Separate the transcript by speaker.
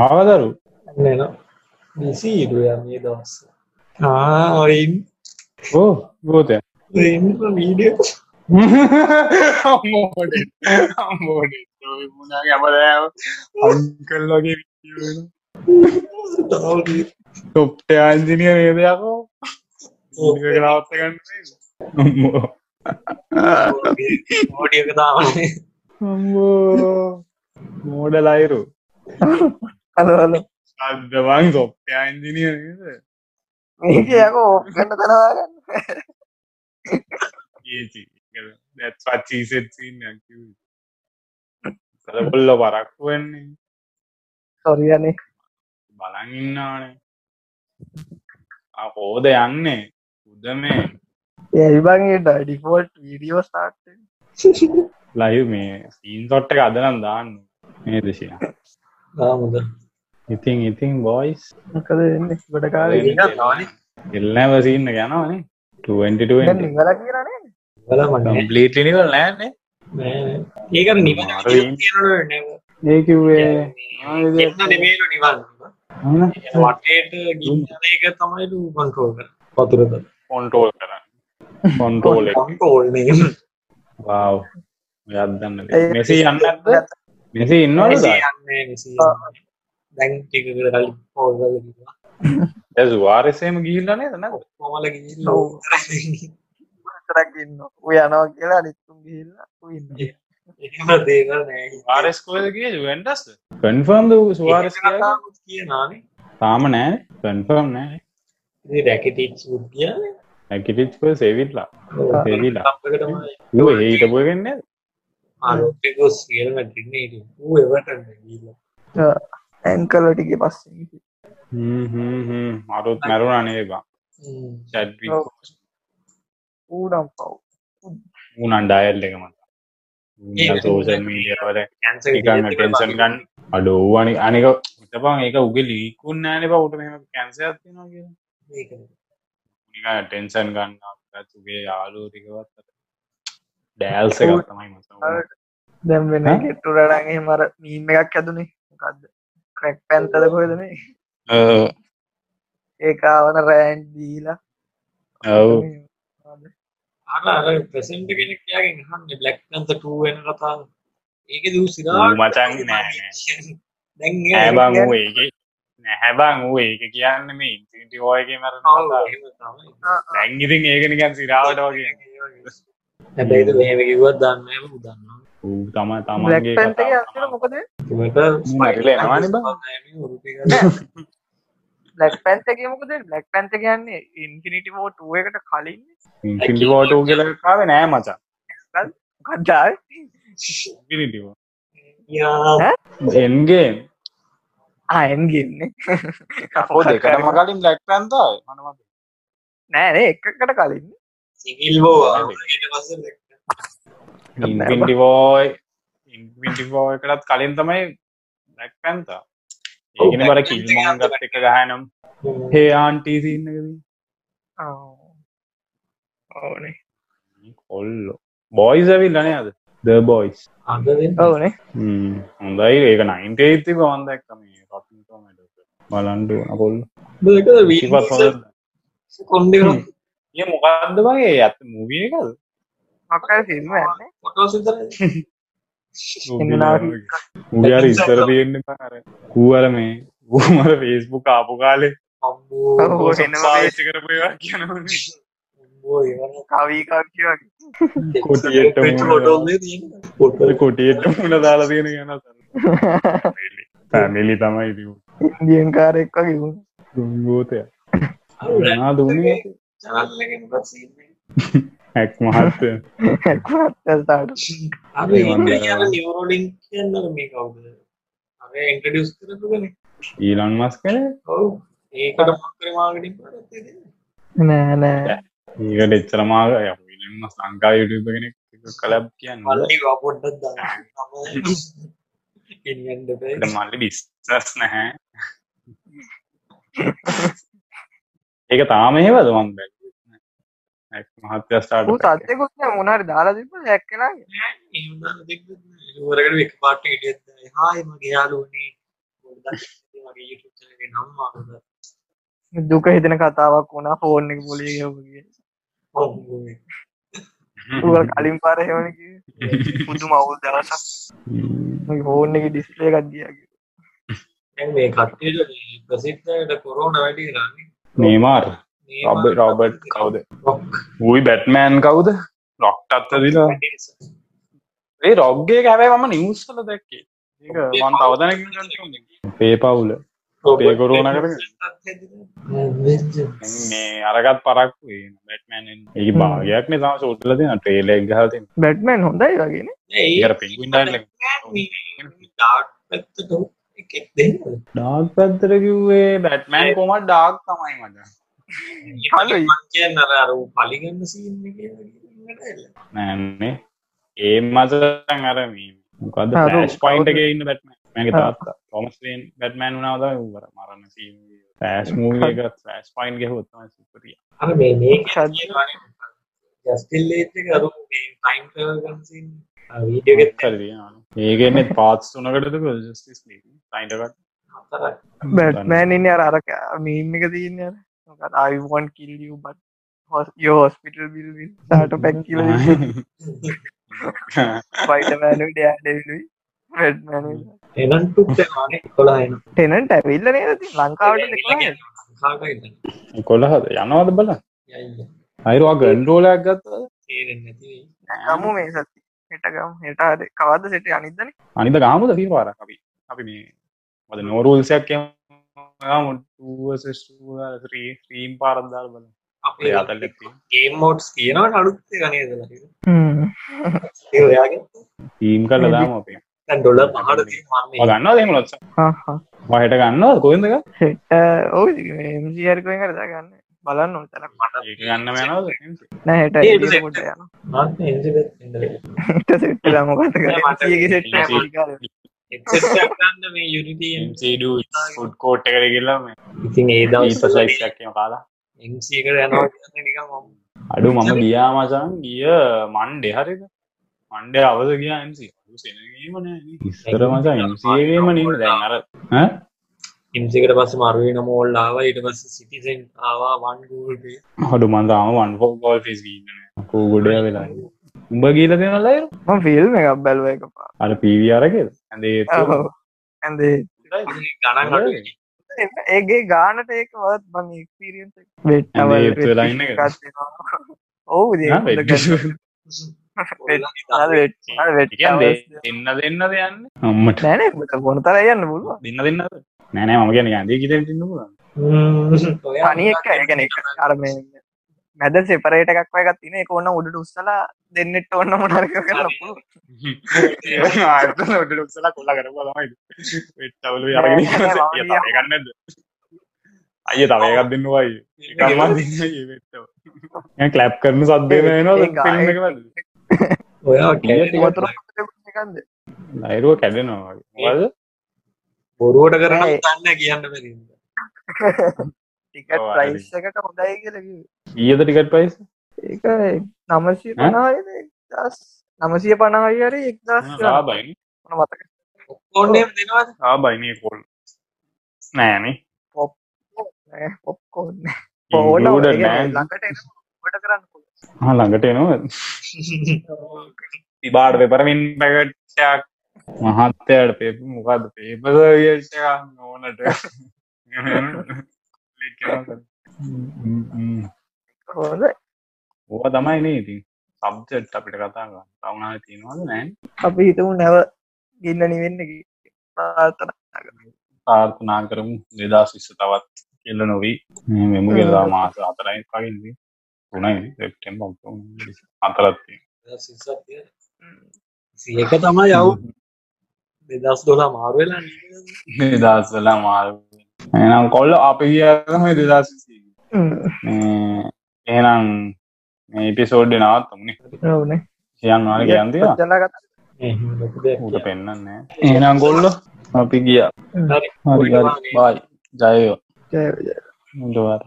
Speaker 1: ආවදරු
Speaker 2: නන විසීරුය මේ දවස්ස ආයින්
Speaker 1: ඕ ගෝතය
Speaker 2: රෙන්ම වීඩිය
Speaker 1: අංකල්ලගේ තොප්ට අන්ජිනිය නේදයකෝ ගලාවත්තගන්න
Speaker 2: ෝඩියක තාවනේ
Speaker 1: මෝඩ ලයිරු
Speaker 2: අලවල
Speaker 1: අදවන් තොප්ට අන්ජිනිය නේද
Speaker 2: ඒකයකෝ ගන්න තරවාගන්න
Speaker 1: සලපුල්ල පරක්කු වෙන්නේ
Speaker 2: සොරියනේ
Speaker 1: බලන් ඉන්නානේ අකෝද යන්නේ උද මේ
Speaker 2: ඒබන්ගේ ඩිෆෝල්ට් වීඩියෝ සාට්
Speaker 1: ලයු මේ සීන් තොට්ට එක අදනම් දාන්න මේ දෙශය
Speaker 2: ආමුද
Speaker 1: ඉතින් ඉතින් බොයිස්
Speaker 2: මොකද වෙන්නේ ගොඩ කාලේ
Speaker 1: එල්නෑ වසින්න යනවානේ 2020
Speaker 2: නිවල කියරනේ වල මට
Speaker 3: කම්පලීටලිනිවල් නෑන්නේ
Speaker 2: නෑ ඒක නිවන
Speaker 1: අරවින්.
Speaker 2: කියනට නැව
Speaker 1: ඒ කිව්වේ ආ, ඒ
Speaker 2: එන්න නෙමේලු නිවන්
Speaker 1: හන?
Speaker 2: වටේට ගින්න එක තමයි කන්ට්‍රෝල් කර පතුරද
Speaker 1: කොන්ටෝල් කරන්න කොන්ටෝල් එක.
Speaker 2: කොන්ටෝල්
Speaker 1: වාව් යත්දන්න මෙසී යන්න මෙසී ඉන්නවලද
Speaker 2: දැන් ටික කල පෝල්ගල
Speaker 1: ඇස් වාරසයම ගිල්ලනේ දනක
Speaker 2: මොමල ගිල්ල
Speaker 4: ඔව්. රකින්න උය යනවා කියලා නිත්තුම් ගිහිල්ල ඉන්න
Speaker 2: එහෙම දේවල් නෑ
Speaker 1: වාරස් කෝදගේ වෙන්ඩස් කන්ෆර්ම්ද සවාරස්
Speaker 2: කතාවකුත් කියනානේ
Speaker 1: තාම නෑ කන්ෆර්ම් නෑ
Speaker 2: ඉතින් රැකටිච් උද්ගිය
Speaker 1: ඇකිටිච්ක සේවිල්ලා
Speaker 2: तो
Speaker 1: සේවිලා
Speaker 2: අපකටම
Speaker 1: ඒට පොයවෙන්න
Speaker 2: ආලෝකකෝ සියල් මැඩ්‍රිඩ්නේ ඉතින් ඌ එවටන් ගිල්ල
Speaker 4: ඇංකලටිගේ පස්සේ
Speaker 1: අරුත් මැරුණ අනේවා චැඩ්වි
Speaker 4: ඔව්. ඌනම් පව්
Speaker 1: උනන් ඩයල් එක මත
Speaker 2: ඒක
Speaker 1: සෝෂල් මීඩියවල
Speaker 2: කැන්සර්
Speaker 1: එකන්න ටෙන්සන් ගන්න අඩෝ අනි අනික උතපන් ඒක උගේ ලීකුන් නෑන බවට මෙම කැන්සයක්තිනවා කිය නික ටෙන්සන් ගන්න තුගේ යාලෝ තිකවත් ඩෑල්ස
Speaker 4: ඔව්.
Speaker 1: ගත්තමයි මත
Speaker 4: දැම් වෙන
Speaker 1: ඈ?
Speaker 4: ගෙට්ටුරටගේ මර මීම එකක් ඇතුනේ මොකක්ද ක්‍රැක් පැන්තල කොයදනේ ඒකාවන රෑන්් දීලා
Speaker 1: ඔව්
Speaker 2: අර අර ප්‍රසෙන්ට කෙනෙක් යාගෙන් හන්න බ්ලක් නන්ත ටූ වෙන කතාව ඒක දූ සිරා
Speaker 1: ඌ මචං නෑ නෑ.
Speaker 2: දැන් ඒ-
Speaker 1: හැබං වූ ඒක නැහැබං වූ ඒක කියන්න මේ ඉන්ටිටි ෝයගේ මර
Speaker 2: ඔව්, එහෙම තමයි.
Speaker 4: हाँ,
Speaker 1: දැංගිතින් ඒකනිකන් සිරාවට වගේ
Speaker 2: හැබැයිද මෙහෙම කිව්වත් දන්නේ නෑ දන්නවා
Speaker 1: ඌ තම තමන්ගේ
Speaker 4: බලක් පැන්තක අතර මොකද
Speaker 2: කිවට
Speaker 1: මැරිලා යනවනේ බං.
Speaker 4: ලක් පැන්තක මොකද ලක් පැන්ත කියන්නේ ඉන්කිනිටි ෝටුව එකට කලින්
Speaker 1: ඉන්ටිටි ෝටෝ කියලකාව නෑ මචා
Speaker 4: කඩ්ඩාල්
Speaker 1: ඉටිටෝ
Speaker 2: යා
Speaker 1: එන්ගේ
Speaker 4: අයන් ගන්නේ
Speaker 1: හෝ දෙකටම කලින් ලැක් පැන්තයි මනම
Speaker 4: නෑනේ එකකට කලින්
Speaker 2: සිවිල් බෝ ඊට පස්සේ Black Panther.
Speaker 1: ඉන්ටිවෝයි ඉන්ටිවෝ එකටත් කලින් තමයි ලැක් පැන්ත ඒකන බර කිල්මෝන් ගත් එක ගහනම් හේ ආන්ටීසින්නකද
Speaker 4: ඕනේ
Speaker 1: කොල්ලෝ බොයිස් ඇවිල් ලනය අද ද බොයිස්
Speaker 2: අද වෙන
Speaker 4: ඕනේ
Speaker 1: හොඳයි ඒක නයින්ට ඒත්ති බවන්දක්ම රටින්ටමට බලන්ඩු කොල්ල
Speaker 2: දෙකද වීල්
Speaker 1: ඉවත් හොඳ
Speaker 2: කොණ්ඩේ
Speaker 1: හ්ම්. ඒ මොකක්ද වගේ ඇත් මූවිය එකද
Speaker 4: මක්කල් ෆිල්ම් යන්නේ
Speaker 2: ෆොටෝස් විතරයි
Speaker 4: එන්නාවි.
Speaker 1: උඩයාර ඉස්සර තියෙන්න අර කූවර මේ ඌමර ෆේස්බුක් ආපු කාලේ
Speaker 2: අම්බෝ
Speaker 4: ඔව්.
Speaker 1: පෝස්ට්
Speaker 4: එනවා
Speaker 1: පාවිච්චි කරපු ඒවා කියනවනේ.
Speaker 2: අම්බෝ ඒවන
Speaker 4: කවීකක්ෂ වගේ
Speaker 1: කොටියට මුණ-
Speaker 2: ෆොටෝස්නේ තියෙන්නේ ෆොටෝ
Speaker 1: කොටියට මුණ දාලා තියෙන ගැන පැමිලි තමයි ඉතින්
Speaker 4: ඉන්දියන් කාරෙක් වගේ වුණ
Speaker 1: දුම්ගෝතය නා දුන්නේ
Speaker 2: channel එකෙන් පස්සේ ඉන්නේ.
Speaker 1: හැක් මහත්ය
Speaker 4: ඇක්ටට
Speaker 2: අර
Speaker 1: ඒ
Speaker 2: ඉන්න
Speaker 1: වන්දනා.
Speaker 2: යන නියුරෝලින්ක් කියන්නද මේ කවුද? අර ඉන්ට්‍රොඩියුස් කරපුවනේ.
Speaker 1: ඊලන් මස් කන
Speaker 2: ඔව්. ඒකට මොකක්ද මාකටිං කරත් ඉතින්.
Speaker 4: නෑ නෑ
Speaker 1: ඒකට එච්චර මාග ම සංකා යුටප කෙනෙක් කලබ් කියන්න
Speaker 2: මල්ලි ගා පොඩ්ඩක් දාන්න. තමයි. ඉන්නන්න බෑ.
Speaker 1: මල්ලි බිස්ස් නැහැ ඒක තාම ඒවද වන් බැ මහත්‍ය
Speaker 4: ඌ
Speaker 1: ස්ටාට
Speaker 4: සත්්‍යකුත් මොනරි දාලා තිබ හැක්කලා
Speaker 2: එහෙම දාලා දෙන්නත් නෑ. ඉවරකට එක පාට හිටියත් හායි මගේ යාළුවනේ. ගොඩක් ඉතින් මගේ YouTube channel එකේ නම් ආවද
Speaker 4: දුක හිතෙන කතාවක් වුණා ෆෝන් එක පොලේ ගියපගේ
Speaker 2: ඔව් මේ
Speaker 4: ගල් කලින් පාර හෙවන පුදු මවුල් දවසක් ෆෝන් එක ඩිස්ලේ එකක් දියගේ
Speaker 2: දැන් මේ කට්ටියට මේ ප්‍රසිද්ධයට කොරෝනා වැඩි වෙනානේ
Speaker 1: නේමාර්
Speaker 2: මේ
Speaker 1: රොබ
Speaker 2: මාර-
Speaker 1: රොබට් කවුද
Speaker 2: Rock.
Speaker 1: ඌයි බැට්මෑන් කවුද ලොක්ට අත්තදිලා
Speaker 2: Pattinson.
Speaker 1: ඒ රොග්ගේ හැබැයි මම නිවස් කල දැක්කේ ඒක
Speaker 4: हाँ।
Speaker 1: මන් අවධන පේ පවුල
Speaker 2: Robert
Speaker 1: අපේ කොරෝනා
Speaker 2: Pattinson ටත් හැදිලා. මේ-
Speaker 1: මේ අරගත් පරක්කු බැට්මෑන් ඒ භාගයක් නිසා සෝටල දෙන ට්‍රේලෙක් ගහතින්
Speaker 4: බැට්මන් හොඳයි වගේන
Speaker 2: නෑ, ඒ
Speaker 1: ඒර පෙන්ගුන් ඩයිල
Speaker 2: ඩාක් පැත්තට එකෙක් දෙන්න
Speaker 1: ඩාක් පැත්තර කිව්වේ බැට්මෑන් කොමට ඩාක් තමයි මට
Speaker 4: හලුයි.
Speaker 2: කියන්න අර අර ඌ පලිගන්න සීන් එක කියලා.
Speaker 1: නෑන්නේ ඒ මසන් අරමී මොකද
Speaker 4: අර
Speaker 1: ස් පයින්ට එක ඉන්න බැට්මෑන් මගේ
Speaker 4: ආ.
Speaker 1: තාත්තා කොමස්ේන් බැට්මෑන් වුණාවද වර මරන්න සී පෑස් මූගත් ස් පයින් ගෙහොත්තම සිපරිය
Speaker 2: අර මේ මේ
Speaker 4: ශාන්ත.
Speaker 2: ජස්ටිල් ලේත් එක අර ඌ මේ ටයිම් ට්‍රැවල් ගන්න සීන් වීඩියෝ එකෙත්
Speaker 1: ඒගෙන්නෙත් පාත්ස් තුනකටද ජස්ටිස් සයින්ටකට
Speaker 2: හතරයි.
Speaker 4: බැට්මෑන් ඉන්න අර අරක මීම් එක තියන්න අර අයිවන් කිල්ලිය බට හොස් යෝස්පිටල් බිල්විල් සාට පැක්කිල පයිටමෑනුට ඩෑඩලුයි බැට්මෑන
Speaker 2: එනම් ටුක් යනවානේ 11 එනවා.
Speaker 4: ටෙනන්ට ඇවිල්ල නේද ලංකාවට දෙකලා
Speaker 2: ලංකාවට ඉන්න.
Speaker 1: කොළහද යනවද බල
Speaker 2: යයි.
Speaker 1: අයිරවා ගන්ඩෝලයක් ගත්ත
Speaker 2: තේරෙන්නේ නැති වෙයි.
Speaker 4: ගමු මේ සති හෙටගම් හෙටාද කවද සිට අනිදන
Speaker 1: අනිද ගාමුද පී පාර අපි අපි මේ මද නෝරුල්සයක් ්‍රීම් පාරද්දාල් බල
Speaker 2: අපේ
Speaker 1: අතල්
Speaker 2: ගේම් මෝඩ්ස් කියනවට අලුත් එක නේද ලහිරු? ඒ ඔයාගේ
Speaker 1: තීම් කල දාම අපේ
Speaker 2: දැන් ඩොලර් 5ට තියෙනවා
Speaker 1: ගන්නවා දෙම ලොත්ස මහට ගන්නවා කොයිදක
Speaker 4: හෙට ඔව ජියර්කෙන් කරදා ගන්න බලන්න නොතර
Speaker 1: ඒක ගන්න මන
Speaker 4: නෑට
Speaker 2: ඒ
Speaker 4: කොට යන
Speaker 2: මේ. මම එන්ජිලෙත් ඉඳලා.
Speaker 4: ට සිට මොකත
Speaker 2: මට
Speaker 4: සෙට්
Speaker 2: එක්සෙට් එකක් ගන්න මේ යුනිටි
Speaker 1: ෆුඩ් කෝට් එකර කිල්ලම
Speaker 2: ඉතින් ඒ දවස්වල
Speaker 1: සයික්ෂක්ම කාලා
Speaker 2: MC එකට යනවා කියන්නේ නිකන් මම
Speaker 1: අඩු මම ගියා මසන් ගිය මණ්ඩෙ හරිද මණ්ඩේ අවද ගියා MC අඩු සෙනගීමන ඉස්සර මසන් MCගේම නීම දැන් අර
Speaker 2: MC එකට පස්සේ මරු වෙන මෝල් ආවා ඊට පස්සේ සිටිසන් ආවා වන් Google Pay
Speaker 1: හඩු මන්දාම වන්ෝ ගොල් ෆිස් ගීන්න කූ ගොඩය වෙලා උඹ ගීල දෙනලයි
Speaker 4: ම ෆිල්ම් එකක් බැලුව එක පා
Speaker 1: අර පීවි අරගෙද ඇඳේ
Speaker 4: ඇදේ
Speaker 2: ගණන් අඩු
Speaker 4: ඒගේ ගානට ඒක වත් බං එක්පිරියන්ස වෙට්ටව
Speaker 1: ඇඳේ ඒත්තු වෙලා ඉන්න එකද?
Speaker 4: ඔවු වෙට්
Speaker 1: දෙන්න දෙන්න දෙයන්න අම්මට
Speaker 4: නෑන ගොනතර යන්න පුළුව
Speaker 1: දෙන්න දෙන්න නෑනෑ මම ගැන ඇඳේ ගිත ටන්න
Speaker 4: තනි එක ඒගැන එක අරම මැද සෙපරේට එකක් වයගත් තින එක ඔන්න උඩට උස්සලා දෙන්නෙට ඔන්න මොනර්ක කරපු
Speaker 1: ක්ලා කොල්ල කරමයි වෙට්ටවලු අරගෙන ගන්නද අය තවයකත් දෙන්නවායි කලප් කරන සද්දේන
Speaker 2: ඔයා
Speaker 1: ටිකක්
Speaker 2: කැලේ
Speaker 4: වතුර එකන්ද
Speaker 1: නයිරුව කැඩෙනවා වගේ.
Speaker 2: බොරුවට කරන
Speaker 4: නෑ.
Speaker 2: දන්න කියන්න බැරි නිසා.
Speaker 4: ටිකට්
Speaker 1: ඔව්, හරි.
Speaker 4: ප්‍රයිස් එකට හොඳයි කියලකි
Speaker 1: ඊයද ටිකට් පයිස්
Speaker 4: ඒක නමසය පනායද එක්දස් නමසය පනාහරි එක්දස්
Speaker 1: ආබයින
Speaker 4: මතක
Speaker 2: ඔක්කොන්නේම දෙනවද
Speaker 1: ආබයිනය කොල් නෑන
Speaker 4: ඔක්කෝන්න
Speaker 1: පෝඩ
Speaker 4: ඕන ලඟට ට කරන්න
Speaker 1: ළඟට එනවා තිබාට පෙපරමින් පැකට්ටයක් මහත්තයට පෙ මොකද පේපද වියට්ටක නෝනට
Speaker 4: හොඳ
Speaker 1: ඕ තමයි නේති සබ්ජට් අපිට කතා තවුණ තියෙනවද නෑ
Speaker 4: අපි හිතමු නැව ගින්න නිවෙන්නකි පාතන
Speaker 1: තාර්ථනා කරමු දෙදා ශිස්ස තවත් කෙල්ල නොවී මෙම ගෙල්ලා මාස අතරයි පගින්දී තුනයි සෙප්ටෙම් අතරත්ති
Speaker 2: සිසත් තියෙන. සියක තමයි යව් දෙදස් දොලා මාරුවෙලා
Speaker 1: නිදස්සලා මාර එනම් කොල්ල අපි ගියම දෙදශසී එහනම් ඒපිසෝඩ් නවත්තමන
Speaker 4: නවන
Speaker 1: කියන්න වන කියන්තිය
Speaker 4: ජලගත
Speaker 1: ඌට පෙන්න්නන්නේ ඒනම් ගොල්ල අපි ගිය හරි
Speaker 2: හරි
Speaker 1: බයි ජයෝ
Speaker 4: ජයජ
Speaker 1: මුටවාර